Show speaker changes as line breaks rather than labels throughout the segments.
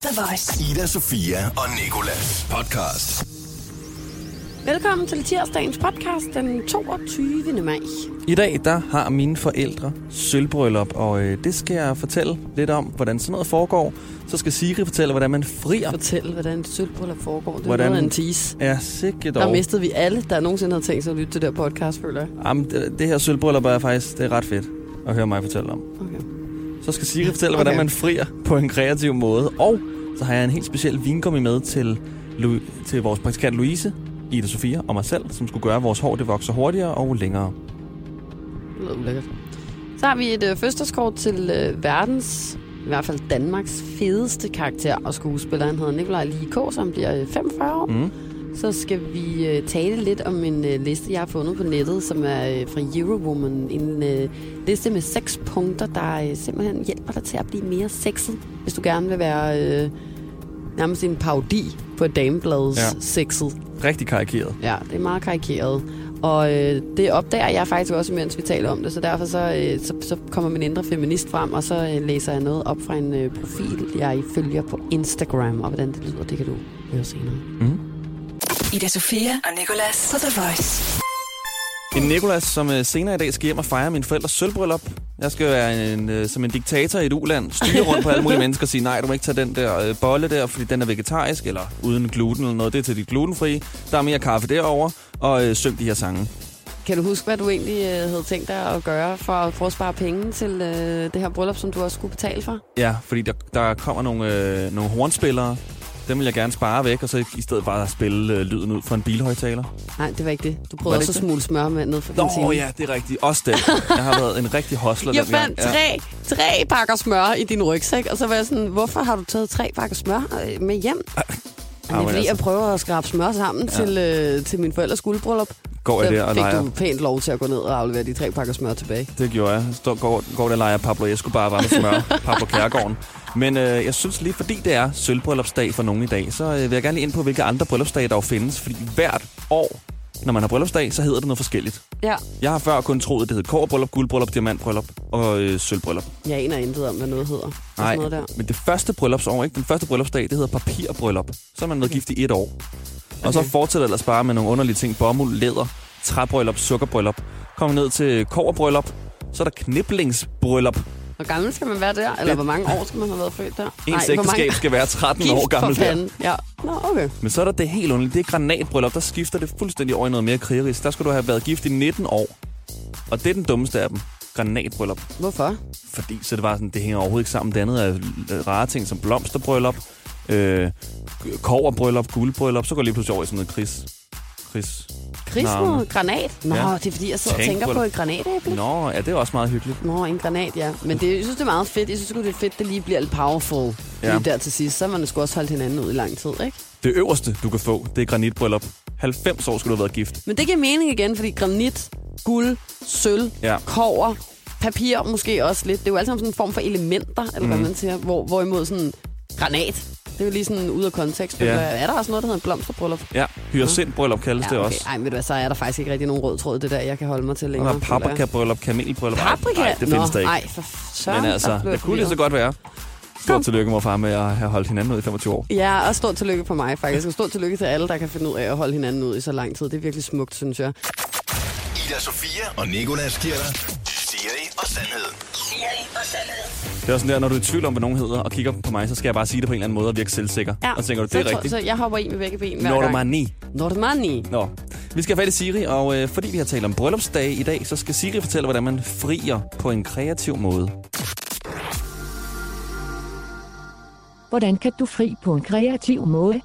The Voice.
Ida, Sofia og Nikolas podcast.
Velkommen til tirsdagens podcast den 22. maj.
I dag, der har mine forældre sølvbryllup, og øh, det skal jeg fortælle lidt om, hvordan sådan noget foregår. Så skal Siri fortælle, hvordan man frier.
Fortæl, hvordan et sølvbryllup foregår. Det
Hvordan-
er noget af en tease.
Ja, sikke
Der
dog.
mistede vi alle, der nogensinde havde tænkt sig at lytte til det her podcast, føler jeg.
Jamen, det, det her sølvbryllup er faktisk det er ret fedt at høre mig fortælle om.
Okay.
Så skal Siri fortælle, hvordan
Okay.
man frier på en kreativ måde. Og så har jeg en helt speciel vingummi med til, Lu- til vores praktikant Louise, Ida Sofia og mig selv, som skulle gøre, at vores hår det vokser hurtigere og længere.
Det lyder ulækkert. Så har vi et øh, fødselskort til øh, verdens, i hvert fald Danmarks fedeste karakter og skuespiller. Han hedder Nikolaj Lige K, som bliver øh, 45 år.
Mm.
Så skal vi øh, tale lidt om en øh, liste, jeg har fundet på nettet, som er øh, fra Eurowoman. En øh, liste med seks punkter, der øh, simpelthen hjælper dig til at blive mere sexet, hvis du gerne vil være øh, nærmest en parodi på et dameblads ja.
Ja.
sexet.
Rigtig karikeret.
Ja, det er meget karikeret. Og øh, det opdager jeg faktisk også, mens vi taler om det, så derfor så, øh, så, så kommer min indre feminist frem, og så øh, læser jeg noget op fra en øh, profil, jeg følger på Instagram, og hvordan det lyder, det kan du høre senere.
Mm.
Ida Sofia og Nicolas på The Voice.
En Nikolas, som øh, senere i dag skal hjem og fejre min forældres sølvbryllup. Jeg skal være en, øh, som en diktator i et uland, styre rundt på alle mulige mennesker og sige, nej, du må ikke tage den der øh, bolle der, fordi den er vegetarisk, eller uden gluten eller noget. Det er til de glutenfrie. Der er mere kaffe derovre, og øh, syng de her sange.
Kan du huske, hvad du egentlig øh, havde tænkt dig at gøre for at prøve at spare penge til øh, det her bryllup, som du også skulle betale for?
Ja, fordi der, der kommer nogle, øh, nogle hornspillere. Dem vil jeg gerne spare væk, og så i stedet bare spille øh, lyden ud for en bilhøjtaler.
Nej, det var ikke det. Du
Var
prøvede
det
også at
ikke det?
smule smør med ned fra kantinen.
Nå ja, det er rigtigt. Også det. Jeg har været en rigtig hostler
Jeg
dengang.
fandt tre, tre pakker smør i din rygsæk, og så var jeg sådan, hvorfor har du taget tre pakker smør øh, med hjem?
Ah, men
Jamen, det er fordi,
altså.
jeg prøver at skrabe smør sammen ja. til, øh, til min forældres guldbryllup.
Går jeg der
Så
og
fik
leger?
du pænt lov til at gå ned og aflevere de tre pakker smør tilbage.
Det gjorde jeg. Så går, går der og leger Pablo Escobar bare med smør. Pablo Kærgården. Men øh, jeg synes lige, fordi det er sølvbryllupsdag for nogen i dag, så øh, vil jeg gerne lige ind på, hvilke andre bryllupsdage der jo findes. Fordi hvert år, når man har bryllupsdag, så hedder det noget forskelligt.
Ja.
Jeg har før kun troet, det hed kårbryllup, guldbryllup, diamantbryllup og øh, sølvbryllup.
Jeg aner intet om, hvad noget hedder. Og sådan
Nej,
noget der.
men det første bryllupsår, ikke? Den første bryllupsdag, det hedder papirbryllup. Så har man været gift i et år. Okay. Og så
Okay.
fortsætter ellers bare med nogle underlige ting. Bomuld, læder, træbryllup, sukkerbryllup. Kommer ned til koverbryllup. Så er der kniblingsbryllup.
Hvor gammel skal man være der? Eller hvor mange år skal man have været født der?
Ens
hvor mange-
ægteskab skal være 13 år gammel
for
der.
fanden. Ja. Nå, okay.
Men så er der det helt underligt. Det er granatbryllup. Der skifter det fuldstændig over i noget mere krigerisk. Der skal du have været gift i 19 år. Og det er den dummeste af dem. Granatbryllup.
Hvorfor?
Fordi så det var sådan, det hænger overhovedet ikke sammen. Det andet er øh, rare ting som blomsterbryllup, øh, koverbryllup, guldbryllup. Så går det lige pludselig over i sådan noget kris. kris.
Krigsmod?
Navne.
Granat? Nå,
Ja.
det er fordi, jeg sidder og
Tænk
tænker
på
på
det.
et granatæble.
Nå, ja, det er også meget hyggeligt.
Nå, en granat, ja. Men det, jeg synes, det er meget fedt. Jeg synes, sgu, det er fedt, det lige bliver lidt powerful. Ja.
Ja.
Lige der til sidst. Så har man sgu også holdt hinanden ud i lang tid, ikke?
Det øverste, du kan få, det er granitbryllup. 90 år skulle du have været gift.
Men det giver mening igen, fordi granit, guld, sølv, ja.
Ja.
kover, papir måske også lidt. Det er jo alt sammen sådan en form for elementer, eller mm.
Mhm.
hvad man siger. Hvor, hvorimod sådan granat, det er jo lige sådan ude af kontekst.
Ja.
Ja. Er der også noget, der hedder en blomsterbryllup?
Ja, hyacintbryllup kaldes det også.
Ej, men ved du hvad, så er der faktisk ikke rigtig nogen rød tråd i det der, jeg kan holde mig til
Og
længere.
der er paprikabryllup, kamelbryllup. Ej,
Paprika?
Nej, det findes der
Nå,
ikke.
Ej, for søren,
Men
der
altså,
blev jeg
det kunne lige så godt
forvirret.
være.
Kom.
Stort tillykke, mor og far, med at have holdt hinanden ud i 25 år.
Ja, og stort tillykke på mig faktisk. Og stort tillykke til alle, der kan finde ud af at holde hinanden ud i så lang tid. Det er virkelig smukt, synes jeg.
Ida, Sofia og Nikolas giver dig Siri og sandhed. Siri og sandhed.
Det er også sådan der, når du er i tvivl om, hvad nogen hedder, og kigger på mig, så skal jeg bare sige det på en eller anden måde og virke selvsikker. og så tænker du,
så
det er
tror-
rigtigt.
Så jeg hopper i med begge ben hver
Når du
gang.
er ni.
Normani.
Nå. Vi skal have fat i Siri, og øh, fordi vi har talt om bryllupsdage i dag, så skal Siri fortælle, hvordan man frier på en kreativ måde.
Hvordan kan du fri på en kreativ måde?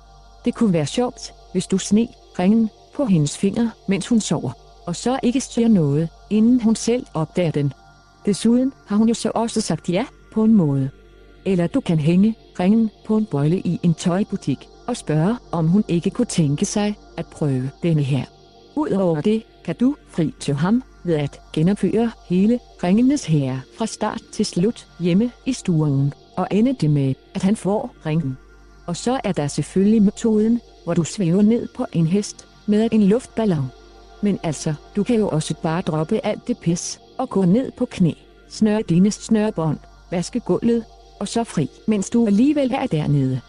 Det kunne være sjovt, hvis du sne ringen på hendes finger, mens hun sover, og så ikke siger noget, inden hun selv opdager den. Desuden har hun jo så også sagt ja på en måde. Eller du kan hænge ringen på en bøjle i en tøjbutik og spørge, om hun ikke kunne tænke sig at prøve denne her. Udover det, kan du fri til ham ved at genopføre hele ringenes herre fra start til slut hjemme i stuen, og ende det med, at han får ringen. Og så er der selvfølgelig metoden, hvor du svæver ned på en hest med en luftballon. Men altså, du kan jo også bare droppe alt det pis og gå ned på knæ, snøre dine snørbånd, vaske gulvet, og så fri, mens du alligevel er dernede.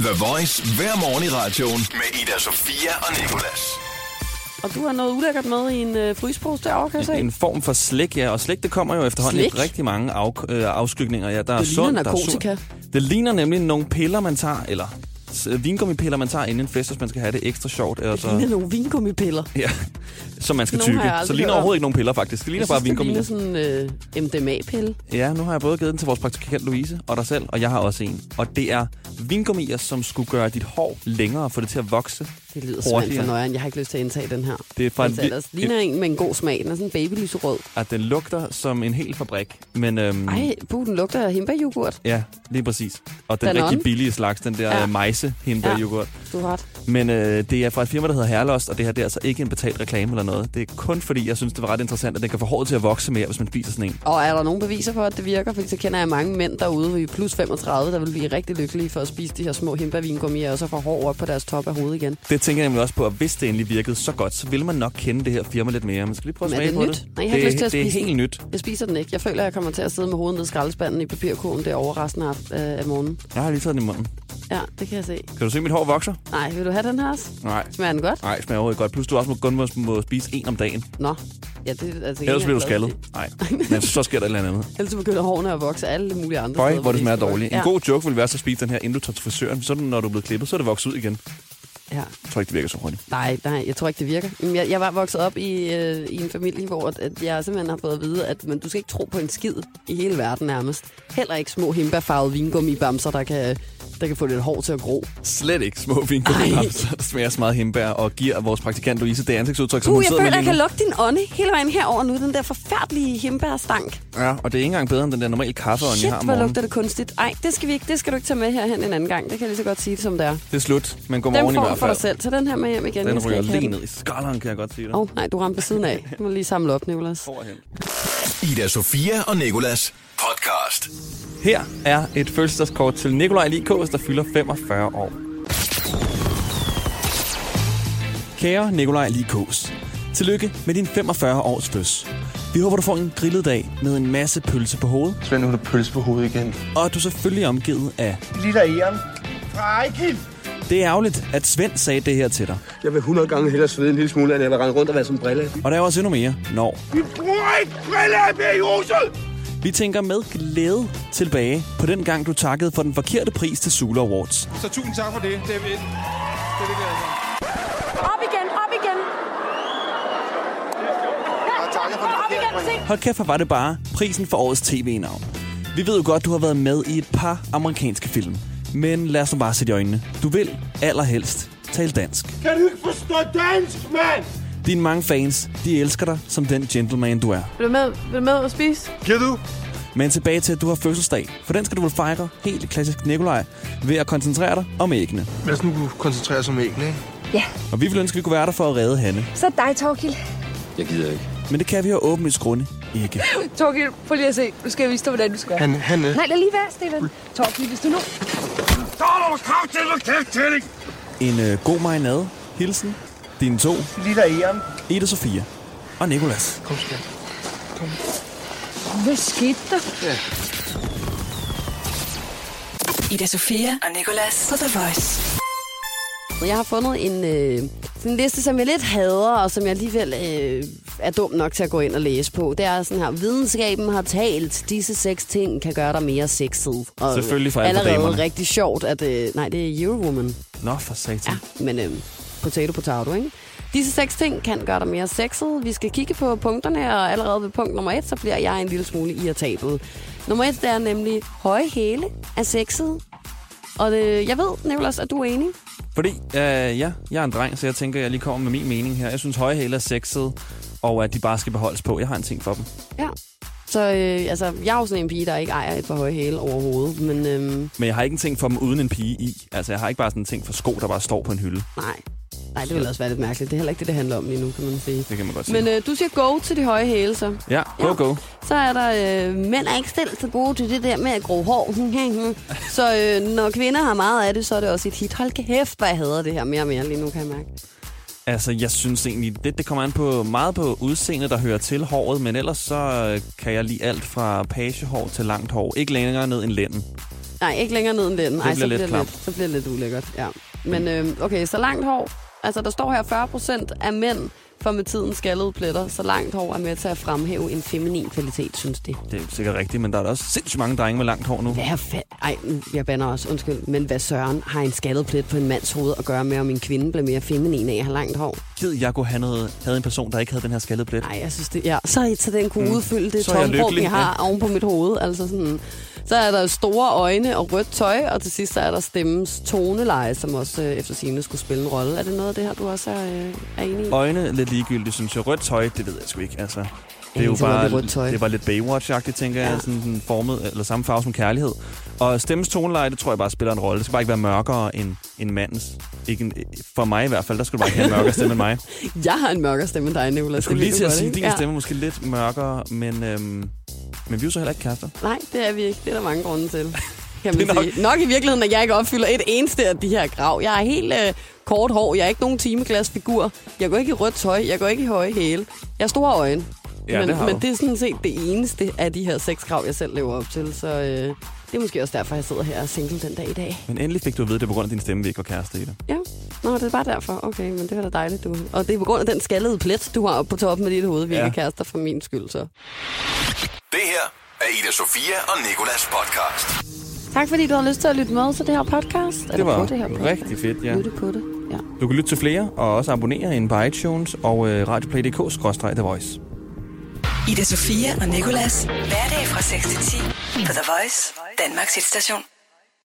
The Voice hver morgen i radioen med Ida Sofia og Nicolas.
Og du har noget ulækkert med i en øh, frysepose derovre, kan jeg se.
En form for slik, ja. Og slik, det kommer jo efterhånden slik? i
Slik?
rigtig mange af, øh, afskygninger. Ja, der er
Det ligner
sund, der er sur.
narkotika.
Det ligner nemlig nogle piller, man tager, eller s- vingummipiller, man tager inden en fest, hvis man skal have det ekstra sjovt.
Det
Altså,
ligner nogle vingummipiller.
ja, som man skal
Nogle
tykke.
har jeg
Så
aldrig
det ligner
hørt om.
overhovedet ikke nogen piller, faktisk. Det ligner
Jeg
bare
synes, det ligner
vingummipiller.
sådan en øh, MDMA-pille.
Ja, nu har jeg både givet den til vores praktikant Louise og dig selv, og jeg har også en. Og det er vingummier, som skulle gøre dit hår længere, få det til at vokse.
Det lyder simpelthen for
hurtigere.
nøjeren. Jeg har ikke lyst til at indtage den her.
Det er fra en
altså,
vi-
ellers ligner en med en god smag. Den er sådan babylyserød.
At den lugter som en hel fabrik. Men øhm,
Ej, bu, den lugter af himbeeryoghurt.
ja, lige præcis. Og den
Danone?
rigtig billige slags, den der
Ja.
ja. mejse hindbær yoghurt.
Du har ret.
Men øh, det er fra et firma, der hedder Herlost, og det her det er altså ikke en betalt reklame eller noget. Det er kun fordi, jeg synes, det var ret interessant, at den kan få håret til at vokse mere, hvis man spiser sådan en.
Og er der nogen beviser for, at det virker? Fordi så kender jeg mange mænd derude i plus 35, der vil blive rigtig lykkelige for at spise de her små himbeervingummier, og så får hår op på deres top af hovedet igen.
Det tænker jeg nemlig også på, at hvis det endelig virkede så godt, så ville man nok kende det her firma lidt mere. Man skal lige prøve at
Men er
smage
det
på
nyt?
det.
Nej, jeg har ikke
det,
lyst til at
det er
spise
helt
den.
nyt.
Jeg spiser den ikke. Jeg føler, at jeg kommer til at sidde med hovedet ned i skraldespanden i papirkurven derovre resten af, øh, af morgenen.
Jeg har lige taget den i munden.
Ja, det kan jeg se.
Kan du se, at mit hår vokser?
Nej, vil du have den her også?
Nej.
Smager den godt?
Nej, det smager overhovedet godt. Plus du også må kun må, må spise en om dagen.
Nå. Ja, det, altså,
Ellers
en
bliver du
af-
skaldet. Nej, men så sker der et eller andet.
Ellers så begynder hårene at vokse alle mulige andre
Bøj,
steder.
hvor det
de
smager
ikke skal
dårligt.
vokse.
En god joke ville være så at spise den her, inden du tager til frisøren. Så når du er blevet klippet, så er det vokset ud igen.
Ja. ja.
Jeg tror ikke, det virker så hurtigt.
Nej, nej, jeg tror ikke, det virker. Jamen, Jeg, jeg var vokset op i, øh, i en familie, hvor at- at jeg simpelthen har fået at vide, at man, du skal ikke tro på en skid i hele verden nærmest. Heller ikke små himbeerfarvede vingummibamser, der kan, der kan få lidt hår til at gro.
Slet ikke små vingummibamser, der smager så meget hembær og giver vores praktikant Louise det ansigtsudtryk, som
Uh,
hun
jeg
sidder
føler,
med
jeg kan
lige
lugte din ånde hele vejen herover nu. Den der forfærdelige himbærstank.
nu. Ja, og det er ikke engang bedre end den der normale kaffeånd,
Shit,
jeg har om
hvor
morgenen.
lugter det kunstigt. Ej, det skal, vi ikke, det skal du ikke tage med herhen en anden gang. Det kan jeg lige så godt sige det, som det er.
Det er slut, men
Den
godmorgen i
får du
hvert
for
fald.
dig selv. Tag den her med hjem igen.
Den
Jeg skal
ryger
ikke have
lige
den.
ned i skalleren, kan jeg godt sige dig.
Åh, oh, nej, du ramte på siden af. Jeg må lige samle op, Nicolas.
Overhen.
Ida Sofia og Nikolas podcast.
Her er et fødselsdagskort til Nikolaj Likås, der fylder 45 år. Kære Nikolaj Likås, tillykke med din 45 års føds. Vi håber, du får en grillet dag med en masse pølse på hovedet,
Svend, nu har du pølse på hovedet igen.
og at du selvfølgelig er omgivet af...
Lille Eon. Fra Ejkild.
Det er ærgerligt, at Svend sagde det her til dig.
Jeg vil 100 gange hellere svede en lille smule, end jeg vil rende rundt og være som brille.
Og der er også endnu mere, når
Vi bruger ikke brille mere i huset!
vi tænker med glæde tilbage på den gang, du takkede for den forkerte pris til Sula Awards.
Så tusind tak for det. Det er vi.
Op igen, op igen. Op igen, se.
Hold kæft, hvor var det bare prisen for årets tv-navn. Vi ved jo godt, du har været med i et par amerikanske film. Men lad os nu bare sætte i øjnene. Du vil allerhelst tale dansk.
Kan du ikke forstå dansk, mand?
Dine mange fans, de elsker dig som den gentleman, du er.
Vil du med, vil du med at spise?
Giver du?
Men tilbage til, at du har fødselsdag. For den skal du vel fejre helt klassisk Nikolaj ved at koncentrere dig om æggene.
Lad os nu koncentrere os om æggene, ikke?
Og vi ville ønske, at vi kunne være der for at redde Hanne.
Så er det dig, Torkild.
Jeg gider ikke.
Men det kan vi jo åbenlyst grunde ikke.
Torgild, prøv lige at se. Nu skal jeg vise dig, hvordan du skal gøre.
Han, han... øh,
Nej, lad lige være, Stefan. Torkild, hvis du nu...
En øh, god marinade. Hilsen. Dine to.
Lille Eon.
Ida Sofia. Og Nikolas.
Kom, skat.
Hvad skete der?
Ida Sofia og Nicolas på The Voice.
Så Jeg har fundet en, øh, sådan en liste, som jeg lidt hader, og som jeg alligevel øh, er dum nok til at gå ind og læse på. Det er sådan her, videnskaben har talt, disse seks ting kan gøre dig mere sexet. Og
Selvfølgelig for alle
allerede
damerne.
rigtig sjovt, at... Øh, nej, det er Eurowoman.
Nå, for satan.
Ja, men øh, potato potato, ikke? Disse seks ting kan gøre dig mere sexet. Vi skal kigge på punkterne, og allerede ved punkt nummer et, så bliver jeg en lille smule irritabel. Nummer et, det er nemlig høje hæle er sexet. Og det, jeg ved, Nicolas, at du er enig.
Fordi, øh, ja, jeg er en dreng, så jeg tænker, jeg lige kommer med min mening her. Jeg synes, høje hæle er sexede, og at de bare skal beholdes på. Jeg har en ting for dem.
Ja. Så øh, altså, jeg er jo sådan en pige, der ikke ejer et for høje hæle overhovedet, men øhm,
Men jeg har ikke en ting for dem uden en pige i. Altså, jeg har ikke bare sådan en ting for sko, der bare står på en hylde.
nej. Nej, det ville også være lidt mærkeligt. Det er heller ikke det, det handler om lige nu, kan man sige.
Det kan man godt sige.
Men øh, du siger go til de høje hæle, så.
ja, go,
ja.
go.
Så er der, øh, mænd er ikke selv så gode til det der med at gro hår. så øh, når kvinder har meget af det, så er det også et hit. Hold kæft, hvad jeg hader det her mere og mere lige nu, kan jeg mærke.
Altså, jeg synes egentlig, det, det kommer an på meget på udseendet, der hører til håret, men ellers så øh, kan jeg lide alt fra pagehår til langt hår. Ikke længere ned end lænden.
Nej, ikke længere ned end den. Nej,
bliver
så,
lidt
bliver det
klamt.
lidt, så bliver det lidt ulækkert. Ja. Men øh, okay, så langt hår. Altså, der står her, 40 procent af mænd får med tiden skaldede pletter, så langt hår er med til at fremhæve en feminin kvalitet, synes de.
Det er sikkert rigtigt, men der er da også sindssygt mange drenge med langt hår nu.
Hvad fa- Ej, nu- jeg bander også, undskyld. Men hvad søren har en skaldet plet på en mands hoved at gøre med, om en kvinde bliver mere feminin af at have langt hår?
Gid jeg kunne have noget, havde en person, der ikke havde den her skaldede plet.
Nej, jeg synes det, ja. Så, så den kunne udfylde det
Mm. Så er jeg
tomrum, jeg,
lykkelig,
har oven på mit hoved. Altså sådan, så er der store øjne og rødt tøj, og til sidst så er der stemmens toneleje, som også øh, efter sine skulle spille en rolle. Er det noget af det her, du også er, øh, er enig i?
Øjne lidt ligegyldigt, synes jeg. Rødt tøj, det ved jeg sgu ikke, altså. Det er jo
ikke så godt
bare,
med rødt tøj.
det er bare lidt Baywatch-agtigt, tænker ja. jeg. Sådan den formet, eller samme farve som kærlighed. Og stemmens toneleje, det tror jeg bare spiller en rolle. Det skal bare ikke være mørkere end, end mandens. Ikke en, for mig i hvert fald, der skulle du bare ikke have en mørkere stemme end mig.
Jeg har en mørkere stemme end dig, Nicolas.
Jeg skulle
Det
lige til at
ved du godt,
sige, at din
ikke?
ja. stemme er måske lidt mørkere, men, øhm, men vi er jo så heller ikke kærester.
Nej, det er vi ikke. Det er der mange grunde til, kan man
Det er nok-
nok... sige. Nok i virkeligheden, at jeg ikke opfylder et eneste af de her krav. Jeg er helt øh, kort hår. Jeg er ikke nogen timeglasfigur. Jeg går ikke i rødt tøj. Jeg går ikke i høje hæle. Jeg har store øjne.
Ja,
men,
det har
men
du.
det er sådan set det eneste af de her seks krav, jeg selv lever op til. Så øh, det er måske også derfor, jeg sidder her og er single den dag i dag.
Men endelig fik du at vide, at det er på grund af din stemme, vi ikke var kærester i det.
Ja, Nå, det er bare derfor. Okay, men det var da dejligt, du. Og det er på grund af den skaldede plet, du har oppe på toppen af dit hoved, vi
Ja.
ja. ikke er kærester for min skyld. Så.
Det her er Ida Sofia og Nikolas podcast.
Tak fordi du har lyst til at lytte med til det her podcast. Eller
Det var
på det her podcast.
rigtig fedt, ja.
Lytte på det, ja.
Du kan lytte til flere, og også abonnere inde på iTunes og øh, radioplay.dk-the voice.
Ida Sofia og Nikolas. Hverdag fra 6 til 10 på The Voice, Danmarks hitstation.